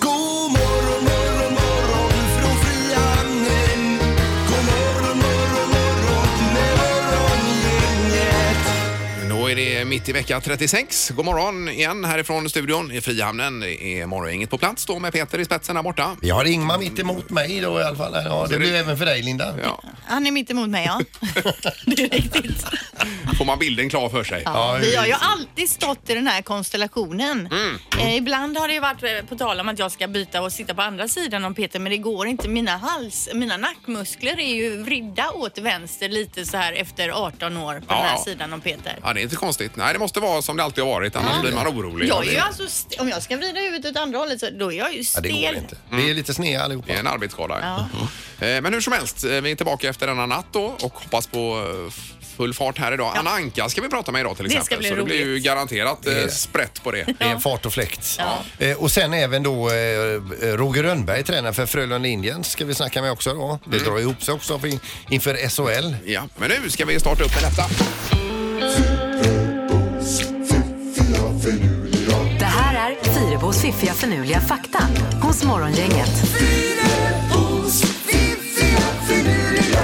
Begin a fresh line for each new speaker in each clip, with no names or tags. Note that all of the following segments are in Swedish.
God morgon, morgon, morgon från Frihamnen. God morgon, morgon, morgon med morgongänget.
Då är det mitt i vecka 36. God morgon igen härifrån studion i Frihamnen. Det är morgongänget på plats då med Peter i spetsen där borta.
Vi har Ingmar mitt emot mig då i alla fall. Ja, det blir även för dig Linda.
Ja,
Han är mitt emot mig ja. Det är riktigt.
får man bilden klar för sig.
Ja,
Vi har ju alltid stått i den här konstellationen.
Mm.
Eh, ibland har det ju varit eh, på tal om att jag ska byta och sitta på andra sidan om Peter men det går inte. Mina hals, mina nackmuskler är ju vridda åt vänster lite så här efter 18 år på den här
ja.
sidan om Peter.
Ja, det är inte konstigt. Nej, det måste vara som det alltid har varit, annars blir man orolig.
Jag är ju alltså, st- om jag ska vrida huvudet åt andra hållet så då är jag ju
Ja, det
stel.
går inte. Vi är lite sneda allihopa.
Mm. Det är en arbetsskada. ja. Eh, Men hur som helst, eh, vi är tillbaka efter denna natt då och hoppas på eh, f- full fart här idag. Anna Anka ska vi prata med idag till
ska
exempel.
bli
så det blir ju
roligt.
garanterat eh,
Det är-
sprätt på det.
Det är fart och fläkt. Eh, och sen även då eh, Roger Rönnberg, tränare för Frölunda Indians, ska vi snacka med också då. Det
Mm.
drar ihop sig också för- inför SHL.
Ja, men nu ska vi starta upp med detta.
Det här är Fyrabos fiffiga förnuliga fakta hos Morgongänget.
Fyrabos fiffiga förnuliga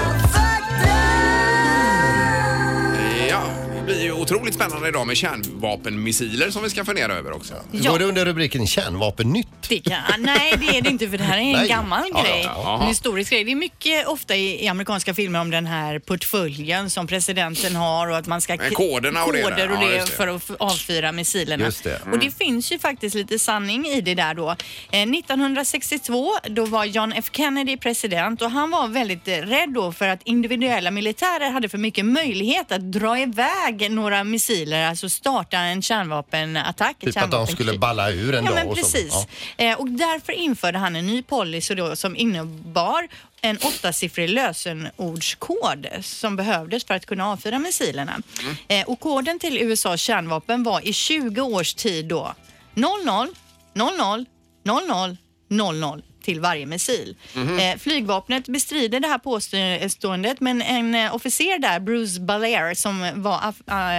Ja, det blir ju otroligt spännande idag med kärnvapenmissiler som vi ska fundera över också.
Ja.
Går det under rubriken kärnvapennytt? Typ
Det kan, ah, nej, det är det inte för det här är en
Nej.
gammal
Ja,
grej.
ja, ja.
En historisk grej. Det är mycket ofta i, i amerikanska filmer om den här portföljen som presidenten har och att man ska
Men koderna och det där.
koder och
Ja,
det
just det. Mm.
för att f- avfyra missilerna.
Just det.
Och det finns ju faktiskt lite sanning i det där då. Eh, 1962 då var John F Kennedy president och han var väldigt eh, rädd då för att individuella militärer hade för mycket möjlighet att dra iväg några missiler, alltså starta en kärnvapenattack. ett
Typ att de
kärnvapenkrig.
skulle balla ur en
Ja,
dag
men
och så.
precis.
Ja.
Eh, och därför införde han en ny policy då, som innebar en åttasiffrig lösenordskod som behövdes för att kunna avfyra missilerna.
Mm.
Eh, och koden till USAs kärnvapen var i 20 års tid då 00 00 00 00 till varje missil.
Mhm.
Eh, flygvapnet bestrider det här påståendet men en eh, officer där, Bruce Balair, som var af-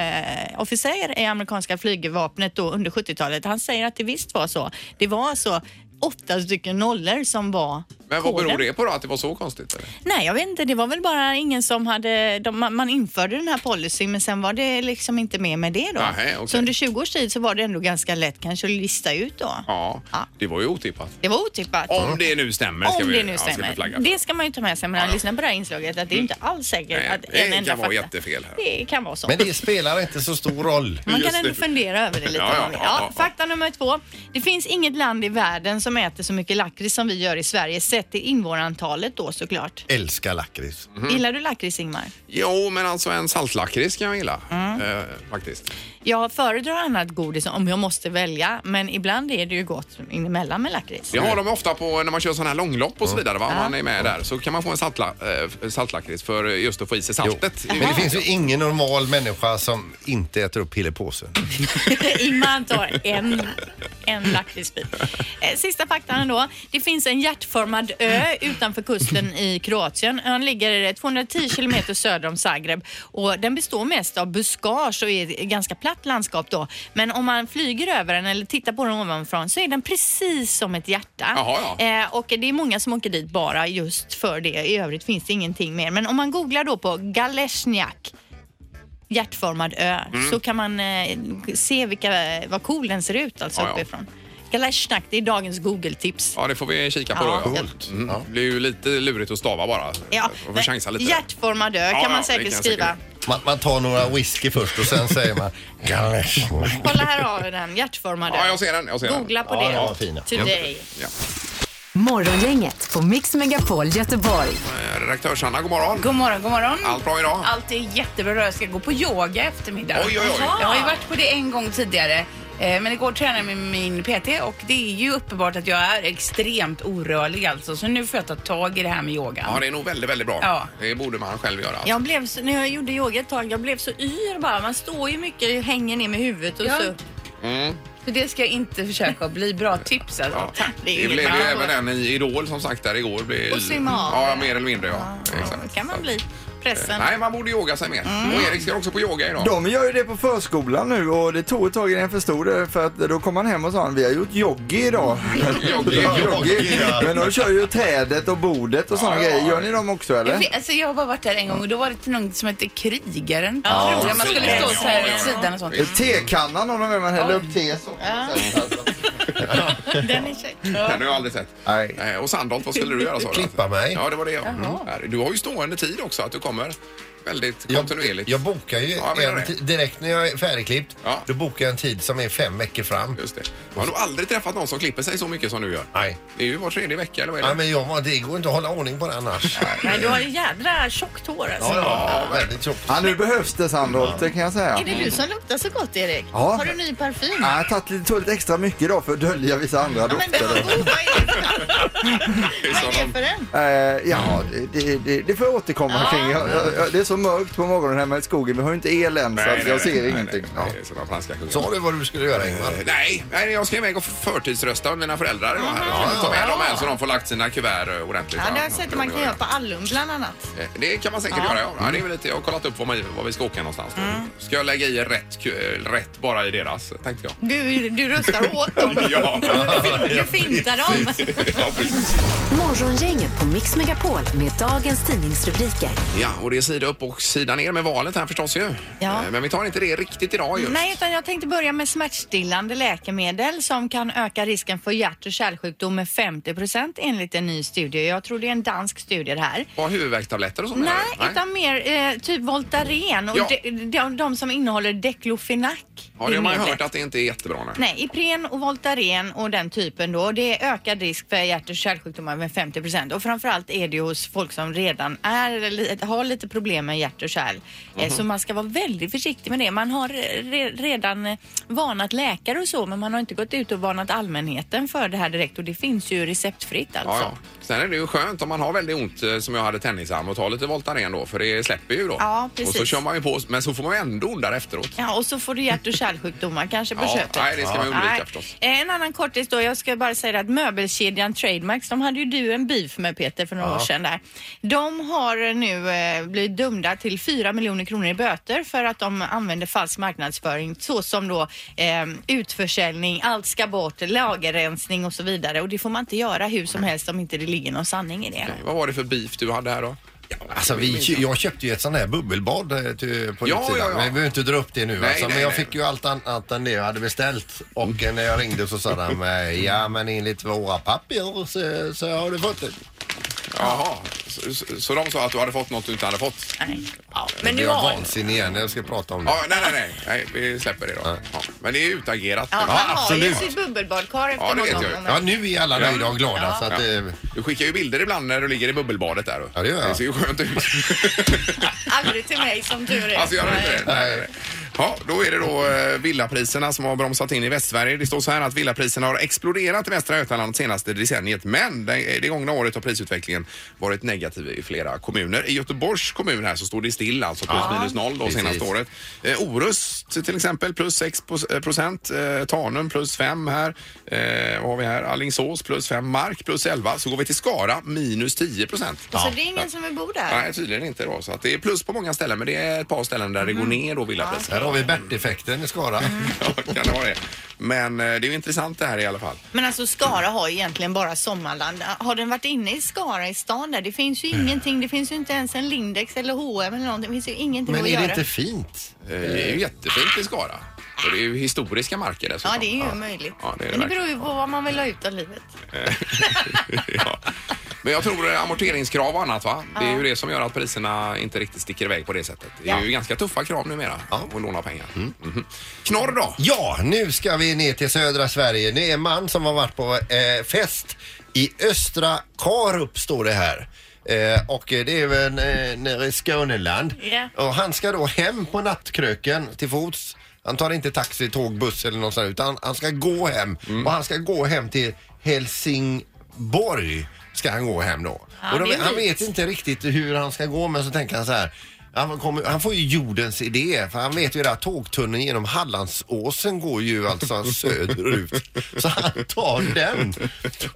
eh, officer i amerikanska flygvapnet då under 70-talet, han säger att det visst var så. Det var alltså åtta stycken nollor som var
Men vad beror
koden.
det på då att det var så konstigt? Eller?
Nej, jag vet inte. Det var väl bara ingen som hade... De, man, man införde den här policyn, men sen var det liksom inte med med det då.
Nähä, okej.
Så under 20 års tid så var det ändå ganska lätt kanske att lista ut då.
Ja,
Ja.
det var ju otippat.
Det var otippat.
Om det nu stämmer. ska
Om
vi-
det nu
ja, ska vi flagga
stämmer.
för. Mm.
Det ska man ju ta med sig när man lyssnar på det här inslaget att det är inte alls säkert
Nej,
att
det
en enda
kan vara
fakta.
jättefel här.
Det kan vara så.
Men det spelar inte så stor roll.
man
Just
kan ändå
det.
fundera över det lite.
Ja, ja,
om man vill.
ja, ja, ja.
fakta nummer två. Det finns inget land i världen som äter så mycket lakrits som vi gör i Sverige sett till invånarantalet då såklart.
Älskar lakrits.
Mm. Mhm.
Gillar du lakrits Ingmar?
Jo, men alltså en saltlakrits kan jag gilla.
Mm.
Eh, faktiskt.
Jag föredrar annat godis om jag måste välja, men ibland är det ju gott inemellan med lakrits.
Det har de ofta på när man kör sådana här långlopp och så vidare. Va? Om man är med där så kan man få en saltla, eh, saltlakrits för just att få i sig saltet.
Men det finns ju ingen normal människa som inte äter upp pillepåsen.
Ingmar tar en, en lakritsbit. Eh, Sista faktan då. Det finns en hjärtformad ö utanför kusten i Kroatien. Ön ligger 210 kilometer söder om Zagreb och den består mest av buskage och är ett ganska platt landskap då. Men om man flyger över den eller tittar på den ovanifrån så är den precis som ett hjärta.
Jaha, ja.
Eh, och det är många som åker dit bara just för det. I övrigt finns det ingenting mer. Men om man googlar då på Galesniak hjärtformad ö
Mm.
så kan man eh, se vilka, vad cool den ser ut alltså
Ja, ja.
uppifrån. Galesniak, det är dagens Google-tips.
Ja, det får vi kika på
Ja.
då. Ja.
Coolt.
Mm.
Ja.
Det blir ju lite lurigt att stava bara.
Ja,
Man får
men
chansa lite. där.
hjärtformad ö
Ja,
kan
ja,
man
det
säkert
kan jag
skriva.
Man, man tar några whisky först och sen säger man Galesch.
Kolla här har vi den, hjärtformad
Ja, jag ser den, jag ser den.
Googla på
Ja,
det.
den var fin.
Today.
Ja.
Morgongänget på Mix Megapol Göteborg.
Eh, Redaktörs-Hanna, god morgon.
God morgon, god morgon.
Allt bra idag?
Allt är jättebra. Jag ska gå på yoga i eftermiddag.
Oj, oj, oj.
Jag har ju varit på det en gång tidigare. Eh, Men igår tränade jag med min PT och det är ju uppenbart att jag är extremt orörlig alltså. Så nu får jag ta tag i det här med yogan.
Ja, det är nog väldigt, väldigt bra.
Ja.
Det borde man själv göra.
Jag blev, så- när jag gjorde yoga ett tag, jag blev så yr bara. Man står ju mycket och hänger ner med huvudet och
Ja.
så.
För det ska jag inte försöka bli. Bra tips alltså.
Ja.
Tack.
Det blev ju även en i Idol som sagt där igår. Blev
Och simma av.
Ja, mer eller mindre ja.
Då
Exakt.
kan man bli pressen.
Nej, man borde yoga sig mer.
Mm.
Och Erik ska också på yoga idag.
De gör ju det på förskolan nu och det tog ett tag innan jag förstod det för att då kom han hem och sa vi har gjort joggi idag.
Joggi, joggi, ja.
Men de kör ju trädet och bordet och sådana
ja,
grejer.
ja.
Gör ni dem också
Jag,
eller?
vet, alltså jag har bara varit där en gång och då var det till någon som hette Krigaren. tror jag. Man skulle stå så här
Ja, ja, ja.
åt sidan och sånt.
Tekannan har de med, man häller upp te så.
Den är check.
Den har jag aldrig sett.
Nej.
Eh, Och Sandholt, vad skulle du göra sa du?
Klippa mig.
Ja, det var det jag. Mm. Du har ju stående tid också, att du kommer väldigt
Jag,
kontinuerligt.
jag bokar ju
Ja, men gör
en
det.
ti- direkt när jag är färdigklippt.
Ja.
Då bokar jag en tid som är fem veckor fram.
Just det. Jag har nog aldrig träffat någon som klipper sig så mycket som du gör.
Nej.
Det är ju var tredje vecka eller vad är det?
Nej, men jag, var- det går inte att hålla ordning på det annars.
Nej, du har ju jädra tjockt hår alltså.
Ja, ja, väldigt tjockt.
Ja, nu behövs det Sandholt, det kan jag säga.
Är det du som luktar så gott Erik?
Ja.
Har du ny parfym?
Ja, jag har tagit lite, tagit lite extra mycket idag för att dölja vissa andra
Ja, men den var
dofter.
god. Vad är det för-
Det är
vad är det
som de-
för en?
Eh, ja, det- det, det, det får jag återkomma
Ah.
kring. Jag, jag, jag, det är så mörkt på morgonen hemma i skogen. Vi har ju inte el än så
Nej,
att jag
nej, nej,
ser
nej,
ingenting.
nej, nej, det är som de franska kungarna.
Sa du vad du skulle göra Ingmar?
Eh, Nej, nej, jag ska iväg och förtidsrösta med mina föräldrar idag. här. Jag ska ta med dem här så de får lagt sina kuvert eh, ordentligt.
Ja, det har jag sett att man kan göra på Allum bland annat.
Eh, Det kan man säkert göra, ja. ja. Det är väl lite, jag har kollat upp var, man, var vi ska åka någonstans. då.
Mm.
Ska jag lägga i rätt, ku- eh, rätt bara i deras, tänkte jag.
Du, du röstar åt dem.
Ja,
Du fintar dem.
ja, precis.
Morgongänget på Mix Megapol med dagens tidningsrubriker.
ja, och det är sida upp och sida ner med valet här förstås ju.
Ja.
Eh, Men vi tar inte det riktigt idag just.
Nej, utan jag tänkte börja med smärtstillande läkemedel som kan öka risken för hjärt och kärlsjukdom med 50 procent enligt en ny studie. Jag tror det är en dansk studie det här.
Bara huvudvärkstabletter och sånt?
Nej,
eller?
utan mer eh, typ Voltaren och
Ja.
de, de, de som innehåller Declofenac.
Ja, det har man ju
medlet.
hört att det inte är jättebra. Nej.
Nej, Ipren och Voltaren och den typen då, det är ökad risk för hjärt och kärlsjukdomar med 50 procent och framförallt är det ju hos folk som redan är, eller li- har lite problem med hjärt och kärl. Eh, Så man ska vara väldigt försiktig med det. Man har re- redan eh, varnat läkare och så, men man har inte gått ut och varnat allmänheten för det här direkt och det finns ju receptfritt
Ja,
alltså.
ja. Sen är det ju skönt om man har väldigt ont eh, som jag hade tennisarm och ta lite Voltaren då för det släpper ju då.
Ja, precis.
Och så kör man ju på men så får man ju ändå ont där efteråt.
Ja, och så får du hjärt och kärlsjukdomar kanske på
Ja,
köpet.
nej, det ska man undvika
Nej.
förstås.
Eh, En annan kortis då. Jag ska bara säga att möbelkedjan Trademarks, de hade ju du en beef med Peter för några år sedan där. De har nu eh, blivit dömda till 4 miljoner kronor i böter för att de använder falsk marknadsföring såsom då eh, utförsäljning, allt ska bort, lagerrensning och så vidare. Och det får man inte göra hur som helst om inte det ligger någon sanning i det.
Nej, Vad var det för beef du hade här då?
Alltså, vi, kö- jag köpte ju ett sånt här bubbelbad eh, till, på utsidan.
Ja, ja, ja.
Men vi behöver inte dra upp det nu.
Nej,
alltså,
nej,
men jag
nej.
fick ju allt annat än det jag hade beställt. Och eh, när jag ringde så sa de eh, ja men enligt våra papper så, så har du fått det.
Jaha, så, så- så de sa att du hade fått något du inte hade fått?
Nej.
Men
nu
jag
har-
vansinnig igen. Jag ska prata om det.
Ja, nej, nej, nej, nej, vi släpper det då. Ja. Men det är ju utagerat.
Ja, man har ju
absolut.
sitt bubbelbadkar efter
Ja, det
någon
vet jag ju.
gång.
Ja, nu är alla nöjda och glada. Så att,
Ja.
eh,
Du skickar ju bilder ibland när du ligger i bubbelbadet där.
Ja, det gör jag.
Det ser ju skönt ut.
Aldrig till mig som tur är.
Alltså gör det inte det?
Nej.
Nej. nej. Ja, då är det då eh, villapriserna som har bromsat in i Västsverige. Det står så här att villapriserna har exploderat i Västra Götaland senaste decenniet men det, det gångna året har prisutvecklingen varit negativ i flera kommuner. I Göteborgs kommun här så står det still alltså plus minus noll då
Precis.
senaste året. Eh, Orust till exempel plus 6 pos- eh, procent, eh, Tanum plus 5 här. Eh, vad har vi här? Allingsås plus 5, Mark plus 11. Så går vi till Skara minus 10 procent.
Så det är ingen som vill bo där?
Nej, tydligen inte då. Så att det är plus på många ställen, men det är ett par ställen där det
Mhm.
går ner då villapriset.
här har vi Bert-effekten i Skara.
Mm. Ja, kan det vara det. Men eh, det är ju intressant det här i alla fall.
Men alltså Skara har ju egentligen bara Sommarland. Har den varit inne i Skara i stan där? Det finns ju
Mm.
ingenting. Det finns ju inte ens en Lindex eller H&M eller någonting. Det finns ju ingenting
Men
att
är det
göra.
inte fint?
Eh, Det är ju jättefint i Skara. Och det är ju historiska marker dessutom.
Ja, det är ju möjligt.
Ja, det är det
Men det
verkligen.
beror ju på vad man vill ha ut av livet.
ja. Men jag tror det är amorteringskrav och annat va? Det är ju det som gör att priserna inte riktigt sticker iväg på det sättet. Det är
Ja. Mm.
ju ganska tuffa krav numera att låna pengar. Mhm. Knorr då?
Ja, nu ska vi ner till södra Sverige. Det är en man som har varit på eh, fest i Östra Karup står det här. Eh, och eh, det är väl eh, nere i Skåneland.
Ja.
Och han ska då hem på nattkröken till fots. Han tar inte taxi, tåg, buss eller något sånt utan han ska gå hem. Och han ska gå hem till Helsingborg. Ska han gå hem då.
Ja,
och de,
det är en
han
bit.
vet inte riktigt hur han ska gå men så tänker han så här. Han, kommer, han får ju jordens idé för han vet ju att tågtunneln genom Hallandsåsen går ju alltså söderut. Så han tar den.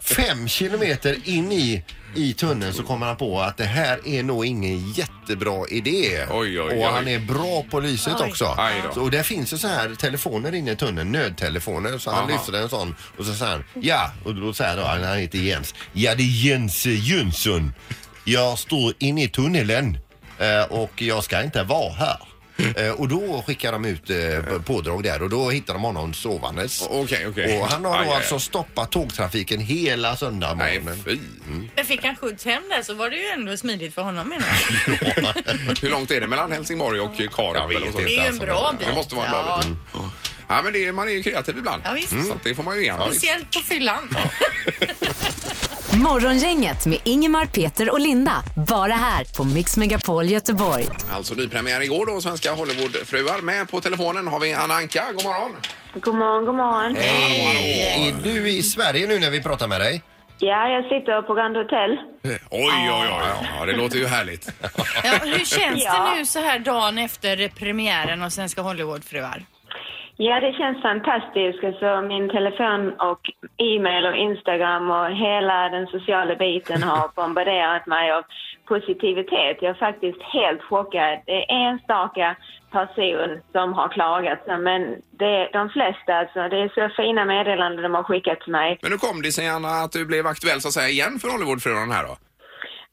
Fem kilometer in i, i tunneln så kommer han på att det här är nog ingen jättebra idé.
Oj, oj,
och
oj.
han är bra på lyset
Oj.
också.
Aj då.
Så, och det finns ju så här telefoner inne i tunneln, nödtelefoner. Så han
Aha.
lyfter en sån och så säger han ja. Och då säger då, han han heter Jens. Ja det är Jens eh, Jönsson. Jag står inne i tunneln eh, och jag ska inte vara här. Eh, Och då skickar de ut eh, pådrag där och då hittar de honom sovandes.
O- okej, okej.
Och han har då
Aj, aj, aj.
alltså stoppat tågtrafiken hela söndag
Nej,
morgonen.
fy.
Men fick han skjuts hem där så var det ju ändå smidigt för honom menar jag.
Hur långt är det mellan Helsingborg och
Jag vet
Karup? eller något sånt?
inte.
Det är ju en bra bit.
Det måste vara en bra bit. Mm. Ja, men det, är- man är ju kreativ ibland. Mm.
Ja, visst.
Så att det får man ju igen.
Ja. Speciellt på fyllan.
Morgongänget med Ingemar, Peter och Linda. Bara här på Mix Megapol Göteborg.
Alltså nypremiär igår då, Svenska Hollywoodfruar. Med på telefonen har vi Anna Anka. God morgon!
God morgon, god morgon.
Är du i Sverige nu när vi pratar med dig?
Ja, jag sitter på Grand Hotel.
Eh, Oj, oj, oj. oj. Ja, det låter ju härligt.
Ja, och hur känns
Ja.
det nu så här dagen efter premiären av Svenska Hollywoodfruar?
Ja, det känns fantastiskt. Alltså, min telefon och e-mail och Instagram och hela den sociala biten har bombarderat mig av positivitet. Jag är faktiskt helt chockad. Det är enstaka person som har klagat, men det, de flesta alltså. Det är så fina meddelanden de har skickat till mig.
Men nu kom det sig, Anna, att du blev aktuell så att säga igen för Hollywoodfruarna här då.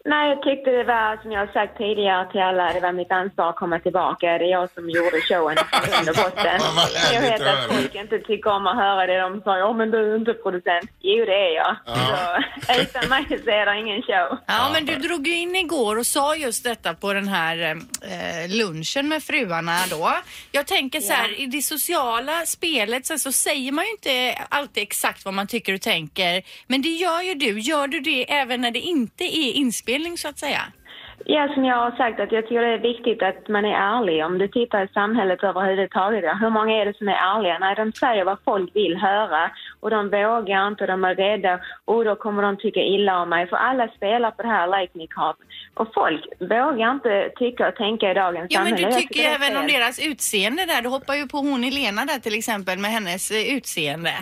Nej, jag tyckte det var, som jag har sagt tidigare till alla, det var mitt ansvar att komma tillbaka. Det är jag som gjorde showen i grund och botten.
Vad härligt
Jag vet
att höra.
att folk inte tycker om att höra det. De sa, ja men du är inte producent. Jo, det är jag. Så, utan mig så är det ingen show.
Ja, men du drog ju in igår och sa just detta på den här eh, lunchen med fruarna då. Jag tänker så här, i det sociala spelet så, så säger man ju inte alltid exakt vad man tycker och tänker. Men det gör ju du. Gör du det även när det inte är inspelning så att säga?
Ja, som jag har sagt, att jag tycker det är viktigt att man är ärlig. Om du tittar i samhället överhuvudtaget, ja, hur många är det som är ärliga? Nej, de säger vad folk vill höra och de vågar inte, de är rädda och då kommer de tycka illa om mig. För alla spelar på det här like me card. Och folk vågar inte tycka och tänka i dagens
Ja, men
samhälle.
du
Jag
tycker ju
det är
även om
fel.
deras utseende där. Du hoppar ju på hon Helena där till exempel med hennes eh, utseende.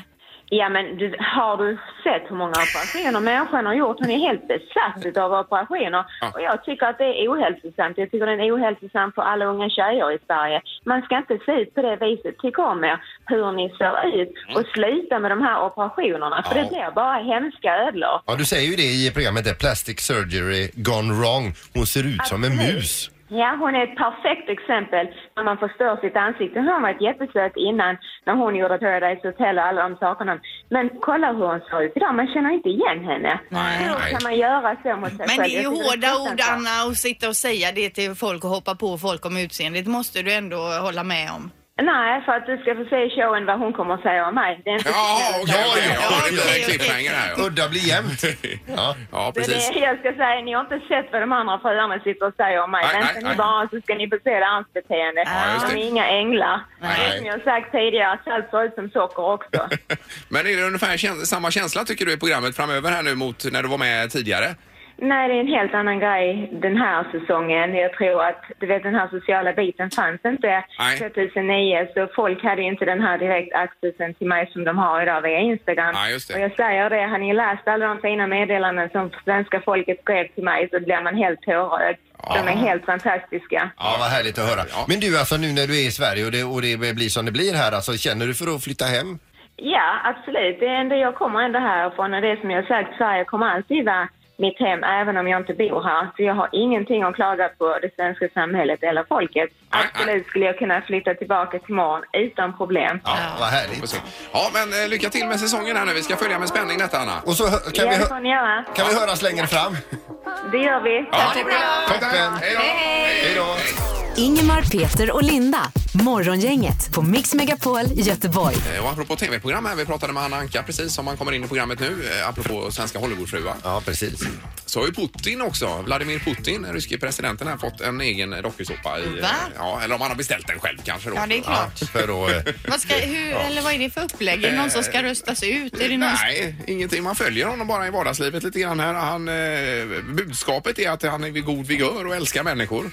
Ja, men du, har du sett hur många operationer människan har gjort? Hon är helt besatt av operationer.
Ja.
Och jag tycker att det är ohälsosamt. Jag tycker det är ohälsosamt för alla unga tjejer i Sverige. Man ska inte se ut på det viset. Tyck om er, hur ni ser ut. Och sluta med de här operationerna, för
Ja.
det blir bara hemska ödlor.
Ja, du säger ju det i programmet där, Plastic Surgery Gone Wrong. Hon ser ut som en
Absolut.
mus.
Ja, hon är ett perfekt exempel när man förstör sitt ansikte. Hon var ett jättesöt innan när hon gjorde Paradise Hotel och alla de sakerna. Men kolla hur hon ser ut idag, man känner inte igen henne. Hur kan man göra så mot sig
Men
själv?
det är ju
Jag tycker
hårda ord
fruktansvärt.
Anna att sitta och säga det till folk och hoppa på folk om utseendet. måste du ändå hålla med om.
Nej, för att du ska få se i showen vad hon kommer att säga om mig. Det är inte
Jaha, okej.
Ja,
okej.
ja,
Ja, det blir
okej,
en cliffhanger här. ja.
Udda blir jämnt. Ja.
Ja,
det är
precis.
det jag ska säga, ni har inte sett vad de andra fruarna sitter och säger om mig.
Nej,
Vänta
nej,
ni
nej.
bara så ska ni få se deras beteende.
Ja, just
de
det.
är inga änglar.
Nej.
Det är som jag sagt tidigare, salt ser ut som socker också.
Men är det ungefär käns- samma känsla tycker du i programmet framöver här nu mot när du var med tidigare?
Nej, det är en helt annan grej den här säsongen. Jag tror att du vet, den här sociala biten fanns inte
Nej.
2009 så folk hade ju inte den här direkt accessen till mig som de har idag via Instagram.
Ja, just det.
Och jag säger det, har ni läst alla de fina meddelanden som svenska folket skrev till mig så blir man helt tårögd. De är helt fantastiska.
Ja, vad härligt att höra.
Ja.
Men du, alltså nu när du är i Sverige och det, och det blir som det blir här, alltså, känner du för att flytta hem?
Ja, absolut. Det är ändå, jag kommer ändå härifrån och det är som jag sagt, Sverige kommer alltid vara mitt hem även om jag inte bor här. Så jag har ingenting att klaga på det svenska samhället eller folket.
Nej,
Absolut skulle jag kunna flytta tillbaka till morgon utan problem.
Ja, vad härligt.
Ja, men eh, lycka till med säsongen här nu. Vi ska följa med spänning detta, Anna.
Och så hö- kan,
ja,
vi
det
hö-
får ni göra.
kan vi höras längre fram.
Det gör vi. Tack.
Toppen!
Toppen.
Hej då!
Hej då.
Ingemar, Peter och Linda. Morgongänget på Mix Megapol Göteborg.
Eh, Och apropå tv-program här, vi pratade med Anna Anka precis som man kommer in i programmet nu, eh, apropå svenska Hollywoodfruar.
Ja, precis.
Så har ju Putin också, Vladimir Putin, den ryske presidenten, här fått en egen dokusåpa. i, eh,
Va?
Ja, eller om han har beställt den själv kanske då.
Ja, det är
Ja,
klart.
för då, eh,
Vad, ska, hur, eller vad är det för upplägg? Är det någon som ska röstas ut? Är det någon
Eh, Nej, ingenting. Man följer honom bara i vardagslivet lite grann här. Han, eh, budskapet är att han är vid god vigör och älskar människor.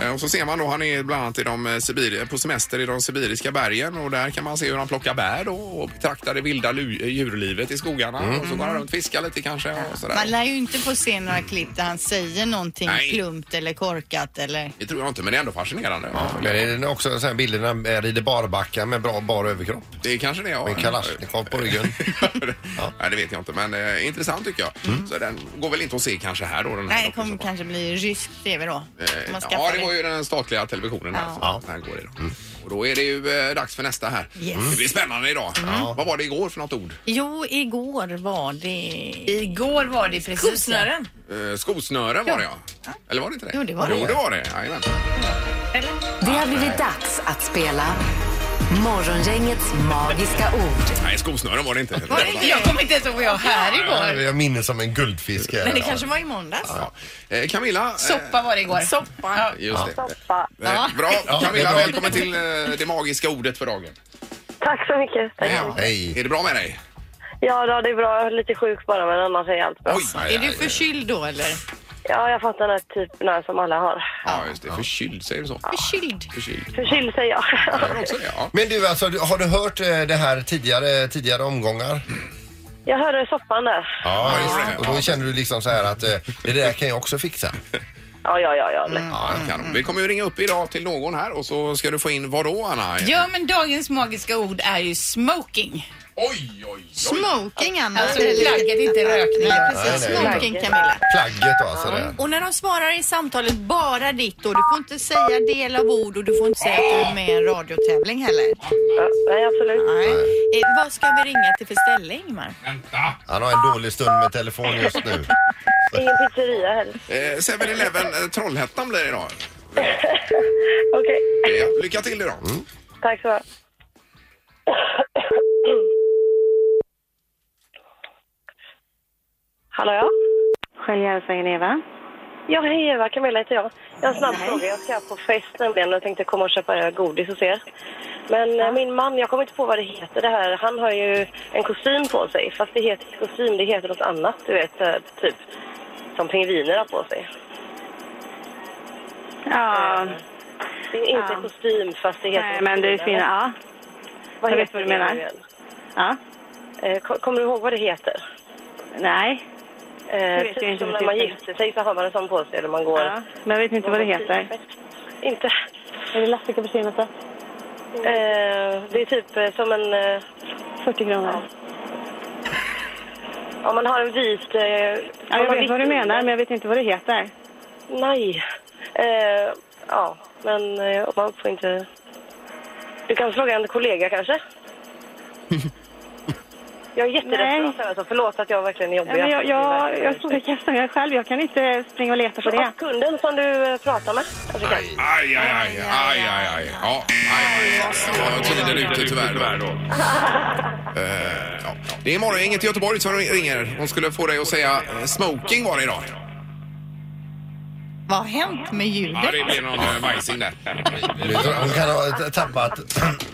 Eh, och så ser man då, han är bland annat i de, eh, Sibir, på semester i de sibiriska bergen och där kan man se hur han plockar bär då och betraktar det vilda lu- djurlivet i skogarna.
Mm.
Och så går han runt och fiskar lite kanske och sådär.
Man lär ju inte få se några klipp där han säger någonting
Nej.
klumt eller korkat eller...
Det tror jag inte, men det är ändå fascinerande.
men det är också så här bilderna eh, rider barbackar med bra bar överkropp.
Det är kanske det ja.
Med kalasjnikov på ryggen.
ja. Nej, det vet jag inte, men eh, intressant tycker jag.
Mm.
Så den går väl inte att se kanske här då? Den här
Nej, det
dokusåpan.
kommer kanske bli rysk tv då.
Eh,
Man
Ja,
skaffar
det var ju den statliga televisionen. Här,
Ja.
som den här går i då. Mm. Och då är det ju eh, dags för nästa här.
Yes.
Det blir spännande idag. Vad var det igår för något ord?
Jo, igår var det...
Igår var det precis...
Kosnören.
Eh, skosnören var det ja. Eller var det inte det?
Jo, det var det.
Jo, det var det. Jajamän.
Det har blivit dags att spela Morgongängets magiska ord.
Nej, skosnören var det inte.
Var det inte? Jag kommer inte ens ihåg vad jag var här
Ja,
igår.
Jag minns som en guldfisk. här.
Men det kanske var i måndags.
Ja. Eh, Camilla. eh,
Soppa var det igår. Soppa.
Just det.
Soppa.
Eh, bra.
det är
Camilla,
bra.
välkommen till eh, det magiska ordet för dagen.
Tack så mycket. Tack.
Ja.
Hej.
Är det bra med dig?
Ja, då, det är bra. Jag är lite sjuk bara, men annars är allt bra.
Oj, aj,
Är du
aj, aj.
förkyld då eller?
Ja, jag fattar den här typen här som alla har.
Ja, just det. Förkyld, säger du så?
Förkyld?
Förkyld.
Förkyld säger jag.
Jag hör också det, ja.
Men du, alltså, du- har du hört eh, det här tidigare, tidigare omgångar?
Jag hörde soppan där.
Ja,
just det.
Och då känner du liksom så här att eh, det där kan jag också fixa.
Ja, ja, ja. ja.
Ja, kanon. Vi kommer ju ringa upp idag till någon här och så ska du få in vad då, Anna?
Ja, men dagens magiska ord är ju smoking.
Oj, oj, oj.
Smoking Anna.
Alltså plagget, inte rökning.
Ja,
Nej,
precis.
nej, nej.
Smoking Camilla.
Plagget då, alltså. Där.
Och när de svarar i samtalet bara ditt ord. Du får inte säga del av ord och du får inte säga att du är med i en radiotävling heller.
Ja, Nej, absolut.
Nej. Eh, vad ska vi ringa till för ställe Ingmar?
Han har en dålig stund med telefon just nu.
Ingen pizzeria heller.
Eh, 7-Eleven eh, Trollhättan blir det idag.
Okej,
Ja, lycka till idag.
tack så mycket. Hallå, ja?
Självhjälpsvägen Eva.
Ja, hej Eva. Camilla heter jag. Jag har en snabb fråga. Jag ska på fest nämligen och tänkte komma och köpa godis hos er. Men eh, min man, jag kommer inte på vad det heter det här. Han har ju en kostym på sig. Fast det heter inte kostym, det heter något annat. Du vet, eh, typ som pingviner har på sig.
Ja,
Det är inte
Ja.
kostym fast det heter...
nej, men det är
pingviner.
fint. Ja,
Vad
jag
heter
vet vad du
det
menar.
nu igen?
ja,
Eh, ko- Kommer du ihåg vad det heter?
nej.
Eh,
vet jag
typ
inte vad
som när
det
man
heter.
gifter sig så har man en sån på sig. Eller man går... typ
Ja, men jag vet inte vad det heter.
Inte.
Är det lappfickabesinelse?
Eh, det är typ eh, som en... Eh,
40 kronor.
om man har en vit... Eh,
Ja,
om
jag
man
vet vad du
vitt-
menar, men jag vet inte vad det heter.
Nej. Eh, ja, men eh, man får inte... Du kan fråga en kollega kanske? Jag är jätterädd för alltså. Förlåt att jag verkligen är jobbig.
Ja, men jag, jag, jag står och kastar mig själv. Jag kan inte springa och leta på det.
Och kunden som du eh, pratar med. Alltså, kan-
Aj, aj, aj, aj, aj, aj. Ja, aj, aj. Ja, tiden är ute tyvärr. Då. Eh, ja. Det är imorgon, inget i Göteborg som ringer. Hon skulle få dig att säga eh, smoking var det idag.
Vad har hänt med ljudet?
det blir någon eh, bajsing där.
Hon kan ha t- tappat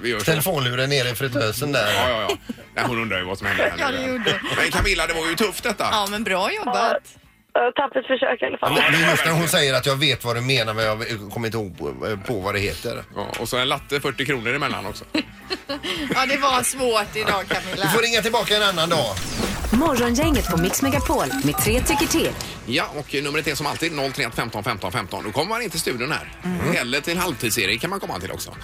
Vi gör så.
telefonluren nere i fritösen
Ja,
där.
ja, ja. Nej, hon undrar ju vad som hände.
Ja,
här
det
nu.
gjorde
Men Camilla, det var ju tufft detta.
Ja, men bra jobbat.
Eh, Tappert försök i alla fall.
Det är just när hon säger att jag vet vad du menar men jag kommer inte ihåg på- på vad det heter.
Ja, och så en latte 40 kronor emellan också.
Ja, det var svårt idag Camilla.
Du får ringa tillbaka en annan dag.
Morgongänget på Mix Megapol med tre tycker till.
Ja, och numret är som alltid 031 15 15 15. Då kommer man in till studion här. Eller till halvtids-Erik kan man komma till också.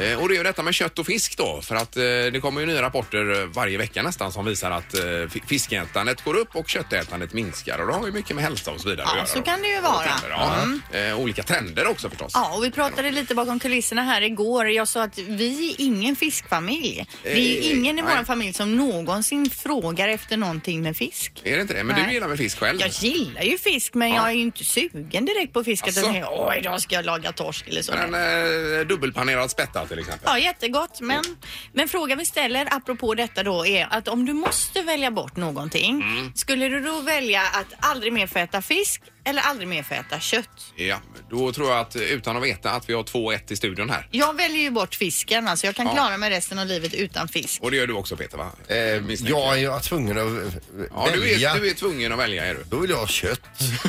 Eh, och det är ju detta med kött och fisk då. För att eh, det kommer ju nya rapporter eh, varje vecka nästan som visar att eh, fi- fiskätandet går upp och köttätandet minskar. Och det har ju mycket med hälsa och så vidare
Ja,
att göra.
så
då.
kan det ju vara. Mm.
Och trender, Ja. Eh, olika trender också förstås.
Ja, och vi pratade lite bakom kulisserna här igår. Jag sa att vi är ingen fiskfamilj. Det är ju
Eh,
ingen i
nej.
vår familj som någonsin frågar efter någonting med fisk.
Är det inte det? Men du
Nej.
gillar väl fisk själv?
Jag gillar ju ju fisk men jag är ju inte sugen direkt på fisk. Alltså.
Asså?
Jag tänker, åh, idag ska jag laga torsk eller så.
Men en eh, dubbelpanerad spätta till exempel.
Ja, jättegott. Men, men frågan vi ställer apropå detta då är att om du måste välja bort någonting,
Mm.
skulle du då välja att aldrig mer få äta fisk eller aldrig mer få äta kött?
Ja, då tror jag att eh, utan att veta att vi har 2-1 i studion här.
Jag väljer ju bort fisken, alltså jag kan
Ja.
klara mig resten av livet utan fisk.
Och det gör du också Peter va?
Eh, jag är jag tvungen att
Ja, du
välja.
är, du är tvungen att välja är du.
Då vill jag ha kött.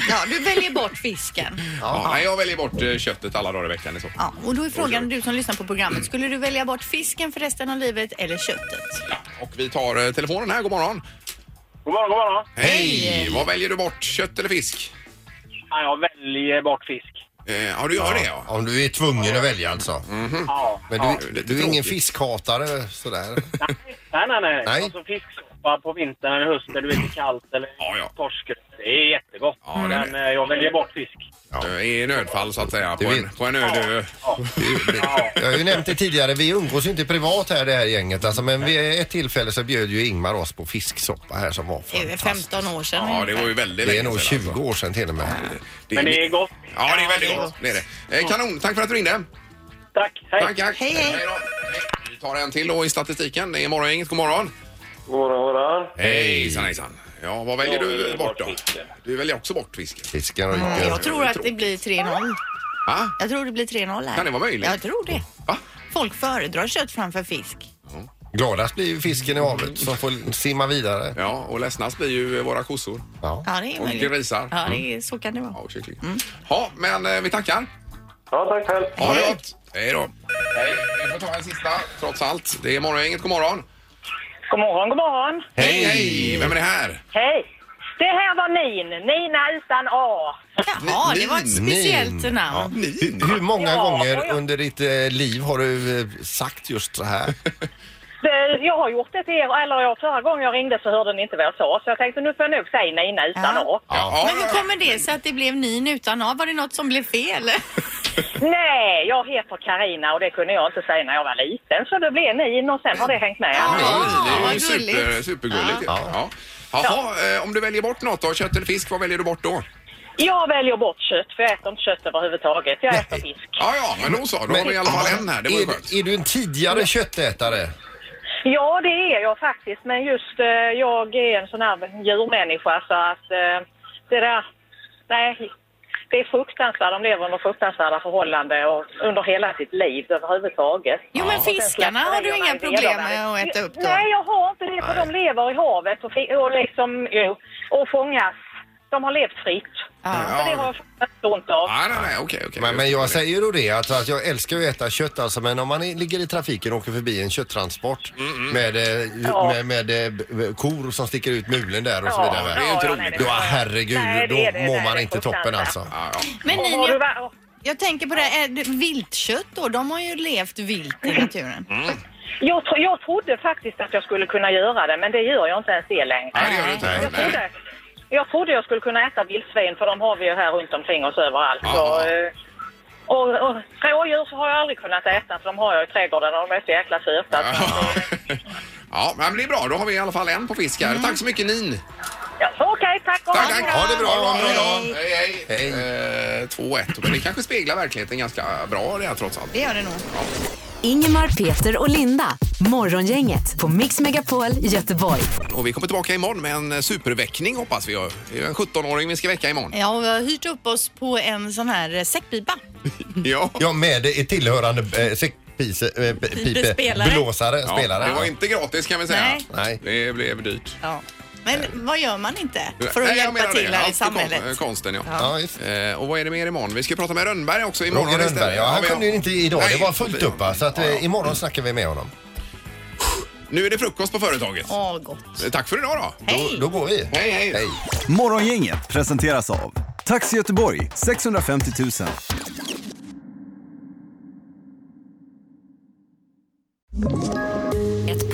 Ja, du väljer bort fisken.
Ja, nej, jag väljer bort eh, köttet alla dagar i veckan i så fall.
Ja, och då är frågan du som lyssnar på programmet, skulle du välja bort fisken för resten av livet eller köttet?
Och vi tar eh, telefonen här, god morgon.
God morgon, god morgon.
Hej! Vad väljer du bort, kött eller fisk?
Ja, jag väljer bort fisk.
Eh, ja, du gör det ja.
Om du är tvungen att välja alltså.
Ja.
Men
Ja,
du,
lite
du är ingen
tråkigt.
fiskhatare sådär?
Nej, nej, nej.
Nej.
Alltså fisksoppa på vintern eller hösten, du vet, det är kallt eller
Ja, ja.
torsk. Det är jättegott.
Ja, det är
Men
det.
eh, jag väljer bort fisk.
Eh, I nödfall så att säga, på
Du
en,
vet.
på en öde ö.
Jag har ju nämnt det tidigare, vi umgås ju inte privat här det här gänget alltså, men vid ett tillfälle så bjöd ju Ingmar oss på fisksoppa här som var
Det är väl
fantastisk.
15 år sedan
Ja, det
ungefär.
var ju väldigt
Det är
länge
nog
sedan, alltså.
20 år sedan till och med.
Det är,
Men det är gott.
Ja, det är väldigt gott. Det är det. Eh, Kanon, tack för att du ringde.
Tack, hej.
Tack, tack.
Hej, hej.
då. Vi tar en till då i statistiken. Det är Morgongänget, god morgon.
God morgon, god morgon.
Hejsan, hejsan. Ja, vad väljer
Jag
du
väljer
bort
bort
då?
fisken.
Du väljer också bort fisken.
Fisken och
Mm,
mm.
Jag tror att det blir 3-0.
Va?
Jag tror det blir 3-0 här.
Kan det vara möjligt?
Jag tror det.
Va?
Folk föredrar kött framför fisk.
Gladast blir ju fisken i havet som får simma vidare.
Ja, och ledsnast blir ju våra kossor
Ja.
Ja, det är
och
möjligt.
grisar.
Ja, det är, så kan det
Ja,
vara.
och kyckling. Ja, men eh, vi tackar.
Ja, tack själv.
Ha det gott. Hej då. Hej. Vi får ta en sista, trots allt. Det är Morgongänget, god morgon.
God morgon, god morgon.
Hej, hej! Vem är det här?
Hej. Det här var Nin. Nina utan A.
Jaha, det var ett
Nin.
speciellt namn.
Hur hur många
Ja,
gånger
ja.
under ditt eh, liv har du eh, sagt just så här?
Det, jag har gjort det till er, eller jag, förra gången jag ringde så hörde ni inte vad jag sa. Så jag tänkte nu får jag nog säga Nina utan
Ja.
A.
Ja.
Men hur kommer det sig att det blev Nin utan A? Var det något som blev fel?
Nej, jag heter Karina och det kunde jag inte säga när jag var liten. Så det blev Nin och sen har det hängt med.
Ja, det är ju
vad gulligt.
super, supergulligt. Ja. Ja. Jaha, eh, om du väljer bort något då, kött eller fisk, vad väljer du bort då?
Jag väljer bort kött för jag äter inte kött överhuvudtaget. Jag äter fisk.
Ja, ja, men då så. Då har vi i alla fall en här. Det var ju skönt.
är, är du en tidigare köttätare?
Ja, det är jag faktiskt. Men just eh, jag är en sån här djurmänniska så att eh, det där... Nej, det är fruktansvärt. De lever under fruktansvärda förhållanden och under hela sitt liv överhuvudtaget.
Jo, men
Och sen
fiskarna
släpper
har du
de
inga
en del
problem
av
med
det.
att äta upp då?
Nej, jag har inte det för de lever i havet och, fi- och liksom jo, och fångas. De har levt fritt. Så det har jag faktiskt ont av.
Nej, nej, nej, okej, okej.
Men, men jag säger då det att, att jag älskar ju att äta kött alltså men om man i- ligger i trafiken och åker förbi en kötttransport
Mm,
Med, eh,
Ja.
med, med, eh, b- b- kor som sticker ut mulen där och så
Ja,
vidare.
det är ju inte
ja,
roligt.
nej, det
Ja
är-
herregud,
Nej,
då
det är det.
mår
Nej,
man
det är
inte toppen
fruktansvärt.
alltså.
Ja, ja.
Men
Och
Nin,
har du
jag,
va-
jag tänker på det här, är det viltkött då, de har ju levt vilt i naturen.
Mm.
Jag, tro, jag trodde faktiskt att jag skulle kunna göra det, men det gör jag inte ens det längre.
Nej, det gör du inte.
Jag
Nej.
trodde, jag trodde jag skulle kunna äta vildsvin, för de har vi ju här runt omkring oss överallt.
Ja.
Så, eh, och, och rådjur så har jag aldrig kunnat äta, för de har jag i trädgården och de är så jäkla söta. Så,
Ja. Ja, men det är bra. Då har vi i alla fall en på fisk här. Tack så mycket Nin.
ja, Okej, tack och
Tack,
hej.
tack.
Ha det bra, ha en bra dag.
Hej, hej. Eh, 2-1. Men det kanske speglar verkligheten ganska bra det här trots allt.
Det gör det nog.
Ingemar, Peter och Linda. Morgongänget på Mix Megapol Göteborg.
Och vi kommer tillbaka imorgon med en eh, superväckning hoppas vi. Det är ju en 17-åring vi ska väcka imorgon.
Ja, och vi har hyrt upp oss på en sån här eh, säckpipa.
Ja.
Ja med ett tillhörande eh, säckpipe, eh, p- pipe,
Spelare.
blåsare,
Ja,
spelare.
Det var inte gratis kan vi säga.
Nej.
Nej.
Det blev dyrt.
Ja. Men vad gör man inte för att
Nej, jag menar
hjälpa till
det.
här i
Allt för kon- eh,
samhället?
konsten, ja.
Ja, just.
Eh, och vad är det mer imorgon? Vi ska prata med Rönnberg också imorgon
Roger
istället.
Rönnberg, ja, han
vi-
kunde ju inte idag.
Nej,
det var fullt upp va? Så att,
Ja, ja.
eh, imorgon snackar vi med honom.
Nu är det frukost på företaget.
Åh, gott.
Eh, Tack för idag då.
Hej!
Då går vi.
Hej, hej.
Hej.
Morgongänget presenteras av Taxi Göteborg 650 000.
Ett